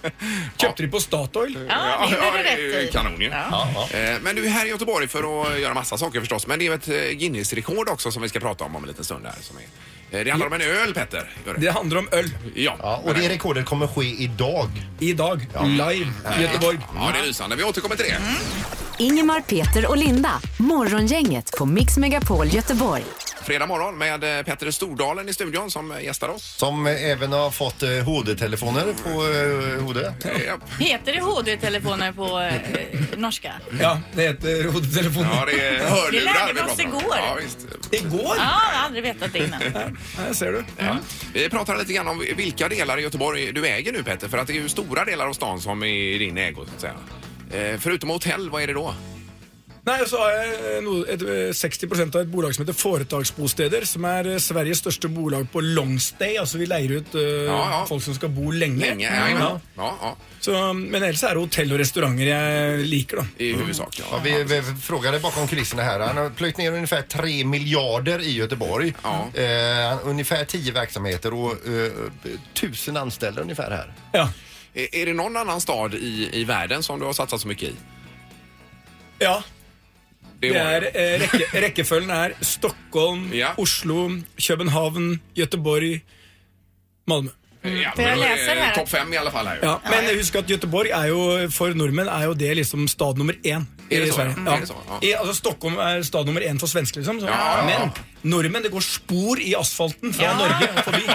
[SPEAKER 1] (laughs)
[SPEAKER 10] kjøpte de på Statoil.
[SPEAKER 2] Ja, det
[SPEAKER 1] ja,
[SPEAKER 2] gjorde du
[SPEAKER 1] det är ju
[SPEAKER 2] rätt i.
[SPEAKER 1] kanon ju.
[SPEAKER 2] Ja.
[SPEAKER 3] Ja, ja.
[SPEAKER 1] Eh, Men du är här i Göteborg för att göra massa saker förstås. Men det är ju ett eh, Guinness-rekord också som vi ska prata om om en liten stund. Här, som är. Eh, Det handlar om en öl, Petter. Gör det.
[SPEAKER 10] Det handler om øl
[SPEAKER 1] Ja.
[SPEAKER 3] Ja, och det rekordet kommer ske idag.
[SPEAKER 10] i dag. Live i Göteborg.
[SPEAKER 1] ja, det är lysande. Vi återkommer till det.
[SPEAKER 5] Ingemar, Peter och Linda. Morgongänget på Mix Megapol Göteborg.
[SPEAKER 1] Fredag morgon med eh, Petter Stordalen i studion som eh, gästar oss.
[SPEAKER 3] Som eh, även har fått eh, HD-telefoner på eh, HD.
[SPEAKER 1] Eh, Ja,
[SPEAKER 2] Heter det HD-telefoner på eh, norska?
[SPEAKER 10] Ja, det heter hodetelefoner.
[SPEAKER 1] ja det är hörlurar
[SPEAKER 2] Det lärde vi
[SPEAKER 1] pratar
[SPEAKER 2] oss
[SPEAKER 1] om.
[SPEAKER 2] igår.
[SPEAKER 1] Ja, visst.
[SPEAKER 10] I går?
[SPEAKER 2] Ja, jag har aldrig vetat det innan.
[SPEAKER 10] Her ser du.
[SPEAKER 1] Ja. Vi pratar lite grann om vilka delar i Göteborg du äger nu Petter. För att det är ju stora delar av stan som är i din ägo. Så att säga. Eh, Förutom hotell, vad är det då?
[SPEAKER 10] Nei, så har jeg eh, noe, et, eh, 60 av et bolag som heter Foretaksbosteder, som er eh, Sveriges største bolag på longstay. Altså vi leier ut eh,
[SPEAKER 1] Ja, ja.
[SPEAKER 10] folk som skal bo lenge.
[SPEAKER 1] Länge?
[SPEAKER 10] Ja,
[SPEAKER 1] Ja, ja, ja,
[SPEAKER 10] Så, men ellers er det hotell og restauranter jeg liker, da.
[SPEAKER 1] I huvudsak.
[SPEAKER 3] Ja,
[SPEAKER 1] Ja.
[SPEAKER 3] vi, vi frågade bakom kulisserna här. Han har plöjt ner ungefär 3 miljarder i Göteborg.
[SPEAKER 1] Ja.
[SPEAKER 3] Eh, ungefär 10 verksamheter och eh, 1000 anställda ungefär här.
[SPEAKER 10] Ja.
[SPEAKER 1] Är är det någon annan stad i, i världen som du har satsat så mycket i?
[SPEAKER 10] ja.
[SPEAKER 1] Det
[SPEAKER 9] Det,
[SPEAKER 1] var
[SPEAKER 9] är, eh, räcke, räckeföljden är Stockholm,
[SPEAKER 1] Ja.
[SPEAKER 9] Oslo, Köpenhamn, Göteborg, Malmö.
[SPEAKER 1] Ja,
[SPEAKER 2] för jag
[SPEAKER 1] men då är
[SPEAKER 2] läser
[SPEAKER 1] det
[SPEAKER 2] här
[SPEAKER 1] Topp
[SPEAKER 2] att-
[SPEAKER 1] fem i alla fall här.
[SPEAKER 9] Ja, men husk at Göteborg er jo for nordmenn er jo det liksom stad nummer én
[SPEAKER 1] Er
[SPEAKER 9] i
[SPEAKER 1] det så,
[SPEAKER 9] Sverige.
[SPEAKER 1] ja?
[SPEAKER 9] Ja.
[SPEAKER 1] Er det så, ja.
[SPEAKER 9] I- Altså, Stockholm er stad nummer én for svensker, liksom. Så.
[SPEAKER 1] ja, ja.
[SPEAKER 9] Men nordmenn, det går spor i asfalten fra Norge og forbi.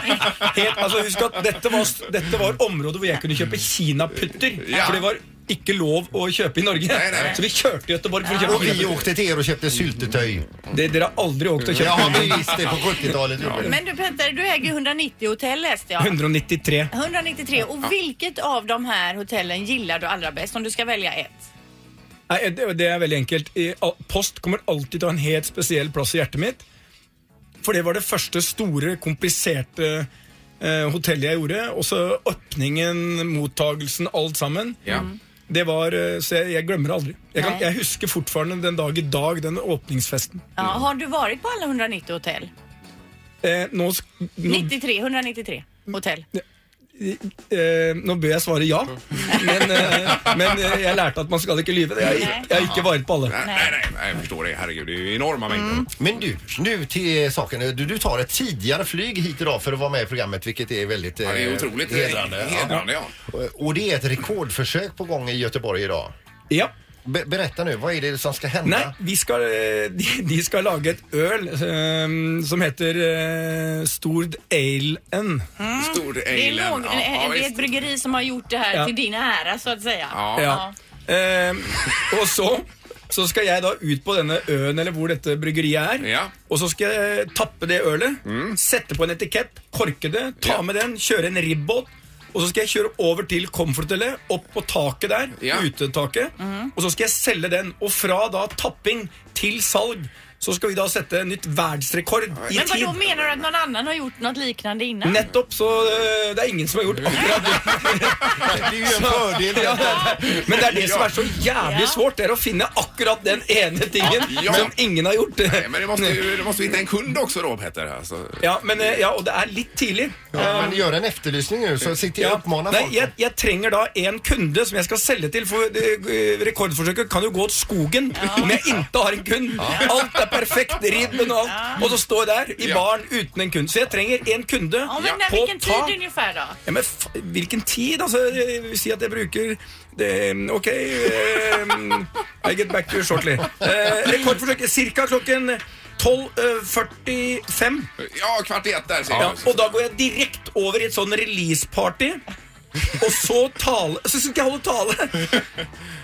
[SPEAKER 9] Helt, altså, husk at dette var, dette var området hvor jeg kunne kjøpe kinaputter.
[SPEAKER 1] Ja.
[SPEAKER 9] For det var ikke lov å kjøpe i Norge.
[SPEAKER 1] Nei, nei.
[SPEAKER 9] Så vi kjørte Göteborg for å
[SPEAKER 3] Och
[SPEAKER 9] kjøpe
[SPEAKER 3] vi
[SPEAKER 9] kinaputter.
[SPEAKER 3] åkte till er och köpte syltetöj.
[SPEAKER 9] Det, dere har aldri åkt og
[SPEAKER 3] Jag har
[SPEAKER 9] kjøpt
[SPEAKER 3] bevis det på 70-talet. gjorde vi.
[SPEAKER 2] Men du Petter, du äger ju 190 hotell läste jag.
[SPEAKER 9] 193.
[SPEAKER 2] 193. Och vilket av de här hotellen gillar du allra bäst om du ska välja ett?
[SPEAKER 9] Nei, det, det er veldig enkelt. I- al- Post kommer alltid til å ha en helt spesiell plass i hjertet mitt. For det var det første store, kompliserte eh, hotellet jeg gjorde. Også åpningen, mottagelsen, alt sammen.
[SPEAKER 1] Ja.
[SPEAKER 2] Mm.
[SPEAKER 9] Det var, eh, Så jeg, jeg glemmer det aldri. Jeg, kan,
[SPEAKER 2] Nei.
[SPEAKER 9] jeg husker fortfarande den dag i dag, den åpningsfesten.
[SPEAKER 2] Ja,
[SPEAKER 1] Mm.
[SPEAKER 2] har du varit på alla 190 hotell?
[SPEAKER 9] Eh, nå, sk-
[SPEAKER 1] Mm.
[SPEAKER 9] nå,
[SPEAKER 2] 93, 193 hotell.
[SPEAKER 9] eh, nå bør jeg svare ja, men, eh, men eh, jeg lærte at man skal ikke lyve. Jeg,
[SPEAKER 2] Nei.
[SPEAKER 9] jeg har ikke varit på alle.
[SPEAKER 1] Nej, nej, nej, nej, jag förstår det. Herregud, det är ju enorma mängder.
[SPEAKER 2] Mm.
[SPEAKER 3] Men du, nu till saken. Du, du tar ett tidigare flyg hit idag för att vara med i programmet vilket är väldigt
[SPEAKER 1] Ja, det är
[SPEAKER 3] eh,
[SPEAKER 1] otroligt
[SPEAKER 3] hedrande.
[SPEAKER 1] hedrande. hedrande ja.
[SPEAKER 3] Ja. Och det är ett rekordförsök på gång i Göteborg idag.
[SPEAKER 9] Ja.
[SPEAKER 3] Be berätta nu, vad är det som ska hända?
[SPEAKER 9] Nej, vi skal, eh, de, de skal lage et øl eh, som heter eh, Stord Ale N.
[SPEAKER 1] Mm. Stor
[SPEAKER 2] Mm. Det är,
[SPEAKER 1] Eilen.
[SPEAKER 2] någon,
[SPEAKER 1] Ja,
[SPEAKER 2] en,
[SPEAKER 1] ja,
[SPEAKER 2] det är ett
[SPEAKER 1] visst.
[SPEAKER 2] bryggeri som har gjort det här
[SPEAKER 9] Ja.
[SPEAKER 2] till din ära så att säga.
[SPEAKER 1] Ja.
[SPEAKER 9] Ja. Eh, og så, så skal jeg da ut på denne øen, eller hvor dette bryggeriet er.
[SPEAKER 1] Ja. Mm.
[SPEAKER 9] Og så skal jeg tappe det ølet, sette på en etikett, korke det, ta
[SPEAKER 1] Ja.
[SPEAKER 9] med den, kjøre en ribbåt. Og så skal jeg kjøre over til komforthotellet, opp på taket der,
[SPEAKER 1] Ja. Mm.
[SPEAKER 9] utetaket. Og så skal jeg selge den. Og fra da tapping til salg, så skal vi da sette nytt verdensrekord i
[SPEAKER 2] Men
[SPEAKER 9] tid.
[SPEAKER 2] vadå menar du att någon annan har gjort något liknande innan?
[SPEAKER 9] Nettopp, så eh, det er ingen som har gjort akkurat det.
[SPEAKER 3] Det är ju en fördel.
[SPEAKER 9] Ja, men det er det som er så jævlig svårt, det er å finne akkurat den ene tingen
[SPEAKER 1] Ja.
[SPEAKER 9] som ingen har gjort.
[SPEAKER 1] Nej, Men du måste, ju, du måste hitta en kund också då Petter. Alltså.
[SPEAKER 9] (laughs) Ja, men, eh, ja, og det er litt tidlig.
[SPEAKER 3] Ja, men gör en efterlysning nu så sitter jag
[SPEAKER 9] Ja.
[SPEAKER 3] och uppmanar
[SPEAKER 9] Nei,
[SPEAKER 3] folk.
[SPEAKER 9] jeg, jeg trenger da en kunde som jeg skal selge til, for det, eh, rekordforsøket kan jo gå til skogen om jeg ikke har en kund. Alt er perfekt, ridmen og alt. Og så står jeg der i
[SPEAKER 1] Ja.
[SPEAKER 9] baren uten en kund. Så jeg trenger en kunde
[SPEAKER 2] Ja, men när,
[SPEAKER 9] på
[SPEAKER 2] vilken
[SPEAKER 9] tak.
[SPEAKER 2] tid ungefär då?
[SPEAKER 9] Ja, men f hvilken tid, Alltså, eh, altså? Jeg vil si at jeg bruker det, Ok um, I get back to you shortly. Eh, rekordforsøk cirka eh, klokken 12.45.
[SPEAKER 1] Ja, kvart i ett där ser
[SPEAKER 9] Ja,
[SPEAKER 1] jag.
[SPEAKER 9] og da går jeg direkte over i et sånn release-party. Og så tale Så skal jeg holde tale!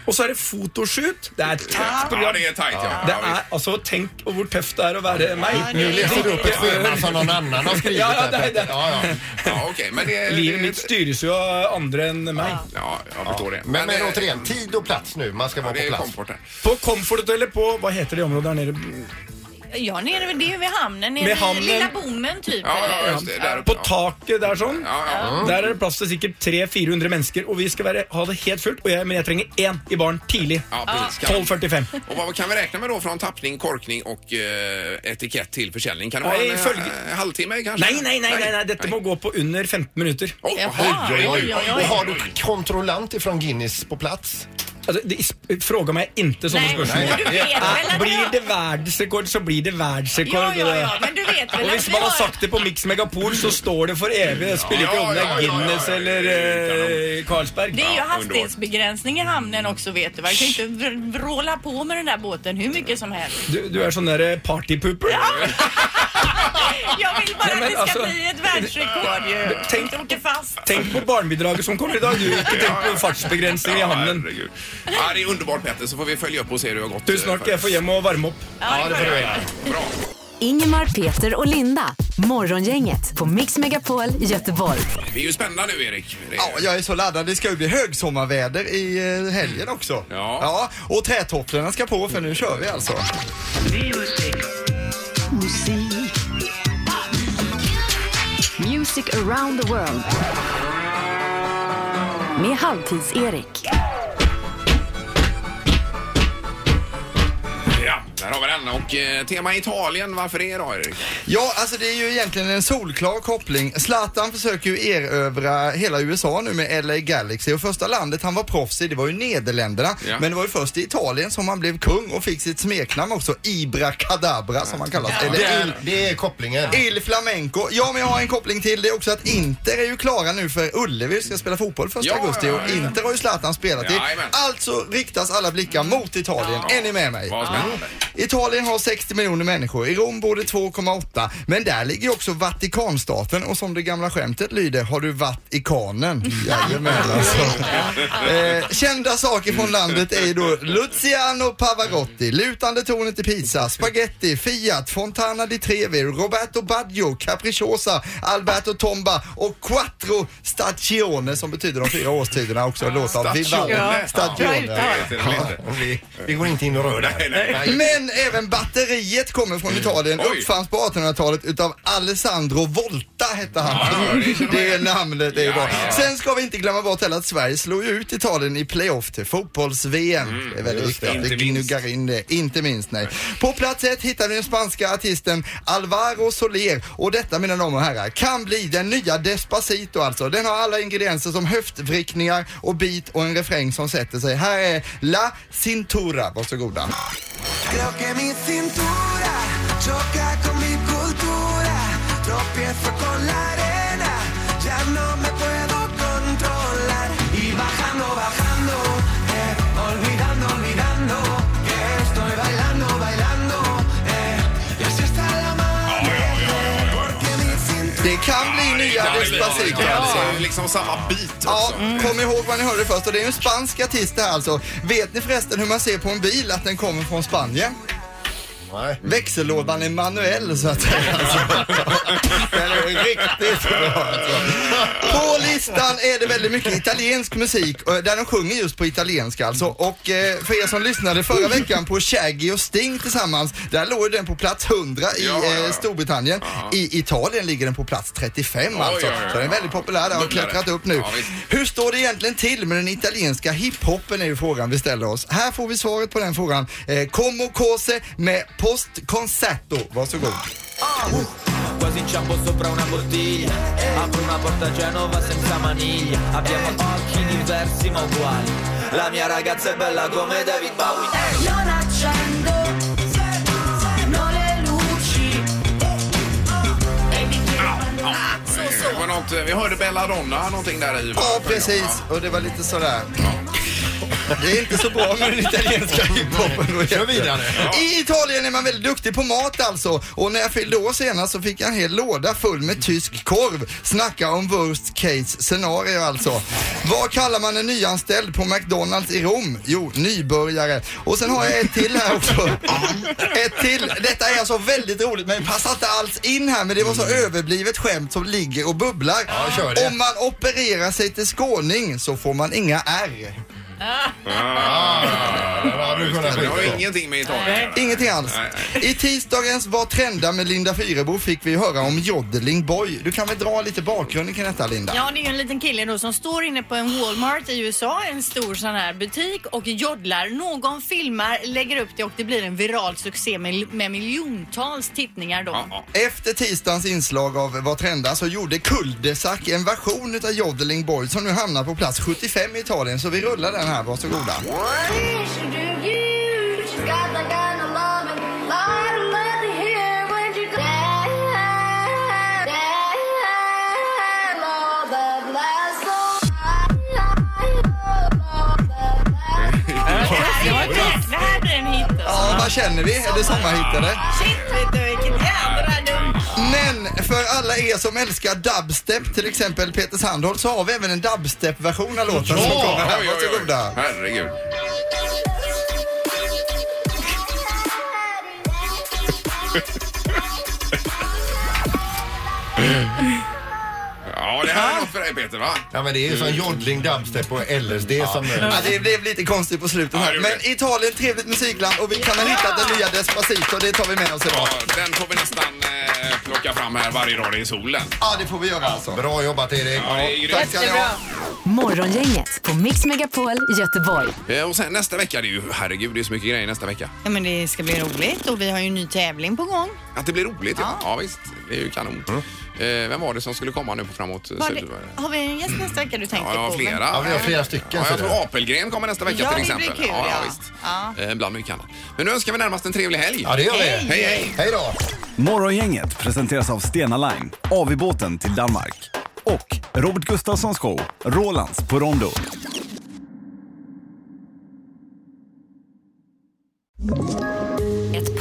[SPEAKER 9] Og så er det fotoshoot. Det er et tøft
[SPEAKER 1] Ja,
[SPEAKER 9] program.
[SPEAKER 1] det är tajt ja.
[SPEAKER 9] Det
[SPEAKER 1] ja
[SPEAKER 9] er, altså, tenk hvor tøft det er å være meg.
[SPEAKER 3] Nu läser du upp ett schema som någon annan har skrivit.
[SPEAKER 9] Ja, ja,
[SPEAKER 3] här,
[SPEAKER 9] det är
[SPEAKER 3] Petter.
[SPEAKER 9] det.
[SPEAKER 3] Ja, ja.
[SPEAKER 1] visst. ja okej. Men det,
[SPEAKER 9] Livet
[SPEAKER 1] det-
[SPEAKER 9] mitt styres jo av andre enn meg.
[SPEAKER 1] Ja, jag förstår det.
[SPEAKER 3] Men, men
[SPEAKER 1] eh,
[SPEAKER 3] återigen, tid och plats nu. Man ska vara
[SPEAKER 1] det
[SPEAKER 3] på
[SPEAKER 1] är
[SPEAKER 3] plats.
[SPEAKER 1] komfort här.
[SPEAKER 9] På Comforthotellet på Hva heter det området der nede?
[SPEAKER 2] Ja, nere, det är ju vid hamnen, nere
[SPEAKER 9] Vid hamnen.
[SPEAKER 2] i lilla bommen typ.
[SPEAKER 1] Ja,
[SPEAKER 2] eller?
[SPEAKER 1] ja, just det. Där uppe.
[SPEAKER 9] På taket der sånn.
[SPEAKER 1] Ja, ja.
[SPEAKER 9] Der er det plass til sikkert 300-400 mennesker, og vi skal være, ha det helt fullt. Og jeg, men jeg trenger én i baren tidlig.
[SPEAKER 1] Ja, precis. Kan-
[SPEAKER 9] 12.45.
[SPEAKER 1] Och vad kan vi räkna med då från tappning, korkning och eh, etikett till försäljning? Kan det vara
[SPEAKER 9] Nej,
[SPEAKER 1] en eh,
[SPEAKER 9] följ-
[SPEAKER 1] halvtimme kanske?
[SPEAKER 9] Nei, nei, nei, nei, nei, dette må gå på under 15 minutter.
[SPEAKER 1] Oj,
[SPEAKER 2] Jaha.
[SPEAKER 1] oj, oj, oj, oj.
[SPEAKER 3] Och har du kontrollant ifrån Guinness på plats?
[SPEAKER 9] Altså, Alltså, det, is- fråga meg ikke sånne
[SPEAKER 2] Nej, och
[SPEAKER 9] spørsmål.
[SPEAKER 2] du vet väl att vi
[SPEAKER 9] Ah, Blir
[SPEAKER 2] har-
[SPEAKER 9] det verdensrekord, så blir det
[SPEAKER 2] Ja,
[SPEAKER 9] verdensrekord.
[SPEAKER 2] ja, ja, men du vet
[SPEAKER 9] Og
[SPEAKER 2] väl
[SPEAKER 9] hvis man har sagt det på Mix Megapol, så står det for evig. Det spiller ikke om det
[SPEAKER 1] Ja, ja, ja,
[SPEAKER 9] er
[SPEAKER 1] ja,
[SPEAKER 9] Guinness
[SPEAKER 1] ja, ja,
[SPEAKER 9] eller eh, Carlsberg.
[SPEAKER 2] Det är ju
[SPEAKER 1] Ja,
[SPEAKER 2] hastighetsbegränsning i hamnen också vet du. Man kan ju inte vr- vråla på med den där båten hur mycket
[SPEAKER 1] (laughs)
[SPEAKER 2] som helst.
[SPEAKER 9] Du, du er sånn der eh, partypooper.
[SPEAKER 2] Jag vill bara
[SPEAKER 9] Nej, men
[SPEAKER 2] att det ska
[SPEAKER 9] alltså-
[SPEAKER 2] bli ett världsrekord ju.
[SPEAKER 9] Tänk-
[SPEAKER 2] Det åker fast.
[SPEAKER 9] Tänk på barnbidraget som kommer i dag. Du, ikke tenk på fartsbegrensninger i
[SPEAKER 1] Ja,
[SPEAKER 9] hamnen.
[SPEAKER 1] herregud. Ja, det är underbart Petter, så får vi följa upp och se hur det har gått. eh,
[SPEAKER 9] Tusen takk. Jeg får hjem og varme opp.
[SPEAKER 3] Ja, det får du göra.
[SPEAKER 1] Bra.
[SPEAKER 5] Ingemar, Peter och Linda. Morgongänget på Mix Megapol Göteborg.
[SPEAKER 1] Vi är ju spända nu Erik. Det-
[SPEAKER 10] Ja, jag är så laddad. Det ska ju bli högsommarväder i eh, helgen också.
[SPEAKER 1] Ja.
[SPEAKER 10] och trätofflorna ska på för nu kör vi alltså.
[SPEAKER 5] Music around the world. Med Halvtids-Erik.
[SPEAKER 1] Ja, Här har vi den och eh, tema Italien, varför det då Erik?
[SPEAKER 9] Ja, alltså det är ju egentligen en solklar koppling. Zlatan försöker ju erövra hela USA nu med LA Galaxy och första landet han var proffs i det var ju Nederländerna.
[SPEAKER 3] Ja.
[SPEAKER 9] Men det var ju först i Italien som han blev kung och fick sitt smeknamn också, Ibra Kadabra som han kallas.
[SPEAKER 3] Ja.
[SPEAKER 9] Eller
[SPEAKER 3] Det är-
[SPEAKER 9] Il-
[SPEAKER 3] det är kopplingen.
[SPEAKER 9] Il Flamenco. Ja, men jag har en koppling till det också att Inter är ju klara nu för Ullevi ska spela fotboll första
[SPEAKER 3] Ja,
[SPEAKER 9] augusti
[SPEAKER 3] ja,
[SPEAKER 9] och
[SPEAKER 3] ja, ja.
[SPEAKER 9] Inter har ju Zlatan spelat i.
[SPEAKER 3] Jajamän.
[SPEAKER 9] Alltså riktas alla blickar mot Italien. Är ni med mig?
[SPEAKER 1] Vad spännande.
[SPEAKER 9] Italien har 60 miljoner människor. I Rom bor det 2,8. Men där ligger ju också Vatikanstaten och som det gamla skämtet lyder har du Vatikanen. Jajamän alltså. Eh, kända saker från landet är ju då Luciano Pavarotti, lutande tornet i Pisa, spaghetti, Fiat, Fontana di Trevi, Roberto Baggio, Capricciosa, Alberto Tomba och Quattro Stagione som betyder de fyra årstiderna också. Låt av Vivaldi.
[SPEAKER 3] Ja.
[SPEAKER 9] Stagione.
[SPEAKER 3] Ja, vi, vi går inte in och rör där.
[SPEAKER 9] Men även batteriet kommer från Italien.
[SPEAKER 3] Oj.
[SPEAKER 9] Uppfanns på 1800-talet utav Alessandro Volta hette han. det är namnet det är bra. Sen ska vi inte glömma bort heller att Sverige slog ju ut Italien i playoff till fotbolls-VM. det är väldigt
[SPEAKER 3] Mm, just det.
[SPEAKER 9] viktigt att vi
[SPEAKER 3] Inte minst.
[SPEAKER 9] gnuggar in det. Inte minst, nej. På plats ett hittar vi den spanska artisten Alvaro Soler och detta, mina damer och herrar, kan bli den nya Despacito alltså. Den har alla ingredienser som höftvrickningar och beat och en refräng som sätter sig. Här är La Cintura. Varsågoda.
[SPEAKER 11] Creo que mi cintura choca con mi cultura. Tropiezo con la arena, ya no me puedo controlar. Y bajando, bajando, eh, olvidando, olvidando que estoy bailando, bailando. Eh, y así está la mano. Porque mi cintura.
[SPEAKER 9] Det kan bli nya
[SPEAKER 1] det blir-
[SPEAKER 9] Despacito
[SPEAKER 1] ja,
[SPEAKER 9] alltså.
[SPEAKER 1] det är Liksom samma bit också.
[SPEAKER 9] Ja, kom ihåg vad ni hörde först och det är ju en spansk artist det här alltså. Vet ni förresten hur man ser på en bil att den kommer från Spanien?
[SPEAKER 3] Nej.
[SPEAKER 9] Växellådan är manuell så att säga.
[SPEAKER 3] (laughs)
[SPEAKER 9] Alltså. Den är riktigt bra alltså. På listan är det väldigt mycket italiensk musik eh, där de sjunger just på italienska alltså. Och eh, för er som lyssnade förra veckan på Shaggy och Sting tillsammans, där låg ju den på plats 100 i
[SPEAKER 3] Ja, ja, ja.
[SPEAKER 9] eh, Storbritannien. I Italien ligger den på plats 35
[SPEAKER 3] Oj,
[SPEAKER 9] alltså.
[SPEAKER 3] oj, oj,
[SPEAKER 9] Så den är väldigt populär där och har
[SPEAKER 3] Bubblare.
[SPEAKER 9] klättrat upp nu.
[SPEAKER 3] Ja, visst.
[SPEAKER 9] Hur står det egentligen till med den italienska hiphopen är ju frågan vi ställer oss. Här får vi svaret på den frågan. Eh, Como cose med post concerto. Varsågod.
[SPEAKER 10] Quasi in ciambo sopra una bottiglia
[SPEAKER 11] Eh.
[SPEAKER 10] Apro una porta a Genova senza maniglia Abbiamo occhi diversi ma uguali La mia ragazza è bella come David Bowie
[SPEAKER 11] Non accendo, non le luci. E mi chiedono.
[SPEAKER 1] Eh, det var något, eh, vi hörde Belladonna någonting där i.
[SPEAKER 9] Ja, precis. Och det var lite sådär. Det är inte så bra med
[SPEAKER 3] (laughs)
[SPEAKER 9] den italienska hiphopen. Kör
[SPEAKER 3] vidare.
[SPEAKER 9] I Italien är man väldigt duktig på mat alltså. Och när jag fyllde år senast så fick jag en hel låda full med tysk korv. Snacka om worst case scenario alltså. Vad kallar man en nyanställd på McDonalds i Rom? Jo, nybörjare. Och sen har jag ett till här också. Ett till. Detta är alltså väldigt roligt men passar inte alls in här. Men det var så överblivet skämt som ligger och bubblar.
[SPEAKER 3] Mm. kör det.
[SPEAKER 9] Om man opererar sig till skåning så får man inga R.
[SPEAKER 1] Ah, just det. det har ingenting med Italien att göra.
[SPEAKER 9] Ingenting alls.
[SPEAKER 1] Nej, nej.
[SPEAKER 11] Eh.
[SPEAKER 9] I tisdagens Vad trendar med Linda Fyrebo fick vi höra om Jodeling Boy. Du kan väl dra lite bakgrunden kring detta Linda?
[SPEAKER 4] Ja, det är ju en liten kille då som står inne på en Walmart i USA, en stor sån här butik och joddlar. Någon filmar, lägger upp det och det blir en viral succé med, med miljontals tittningar då.
[SPEAKER 9] Efter tisdagens inslag av Vad trendar så gjorde Kuldesack en version utav Jodeling Boy som nu hamnar på plats 75 i Italien. Så vi rullar den här, varsågoda.
[SPEAKER 4] Det var ett- Det här blir en hit.
[SPEAKER 9] Ja, vad känner vi? Är det sommarhit eller?
[SPEAKER 4] Shit, vet du vilket jädra dunk.
[SPEAKER 9] Men för alla er som älskar dubstep, till exempel Peter Sandholt, så har vi även en dubstep-version av låten som kommer här.
[SPEAKER 1] Oj, oj, oj.
[SPEAKER 9] Varsågoda.
[SPEAKER 1] Herregud. Ja, det här är något för dig Peter va?
[SPEAKER 3] Ja, men det är ju som joddling, dubstep och LSD som...
[SPEAKER 9] Ja, det blev lite konstigt på slutet här. Men Italien, trevligt musikland och vi kan ha hittat den nya Despacito. Det tar vi med oss idag.
[SPEAKER 1] Ja, den får vi nästan eh, plocka fram här varje dag det är solen.
[SPEAKER 9] Ja, det får vi göra alltså.
[SPEAKER 3] Bra jobbat Erik.
[SPEAKER 1] Ja, det är grymt.
[SPEAKER 9] Tack ska ni ha.
[SPEAKER 5] Morgongänget på Mix Megapol Göteborg.
[SPEAKER 1] Eh, Och sen nästa vecka, det är ju, herregud det är så mycket grejer nästa vecka.
[SPEAKER 2] Ja, men det ska bli roligt och vi har ju en ny tävling på gång.
[SPEAKER 1] Att det blir roligt ja. Ja visst, det är ju kanon. Eh, vem var det som skulle komma nu på framåt?
[SPEAKER 2] Var
[SPEAKER 1] Syd-
[SPEAKER 2] det, har vi en gäst nästa vecka du tänker
[SPEAKER 1] Ja, jag har
[SPEAKER 2] på?
[SPEAKER 1] flera.
[SPEAKER 2] Men-
[SPEAKER 1] Ja, jag tror Apelgren kommer nästa vecka
[SPEAKER 2] Ja,
[SPEAKER 1] till
[SPEAKER 2] det blir
[SPEAKER 1] exempel.
[SPEAKER 2] kul,
[SPEAKER 1] ja,
[SPEAKER 2] ja.
[SPEAKER 1] visst. Eh, bland mycket annat. Men nu önskar vi närmast en trevlig helg.
[SPEAKER 3] Ja, det gör vi. Hej.
[SPEAKER 1] Hej, hej.
[SPEAKER 3] Hej då!
[SPEAKER 12] Morgongänget presenteras av Stena Line, AV-båten till Danmark och Robert Gustafssons show Rolands på Rondo.
[SPEAKER 13] Ett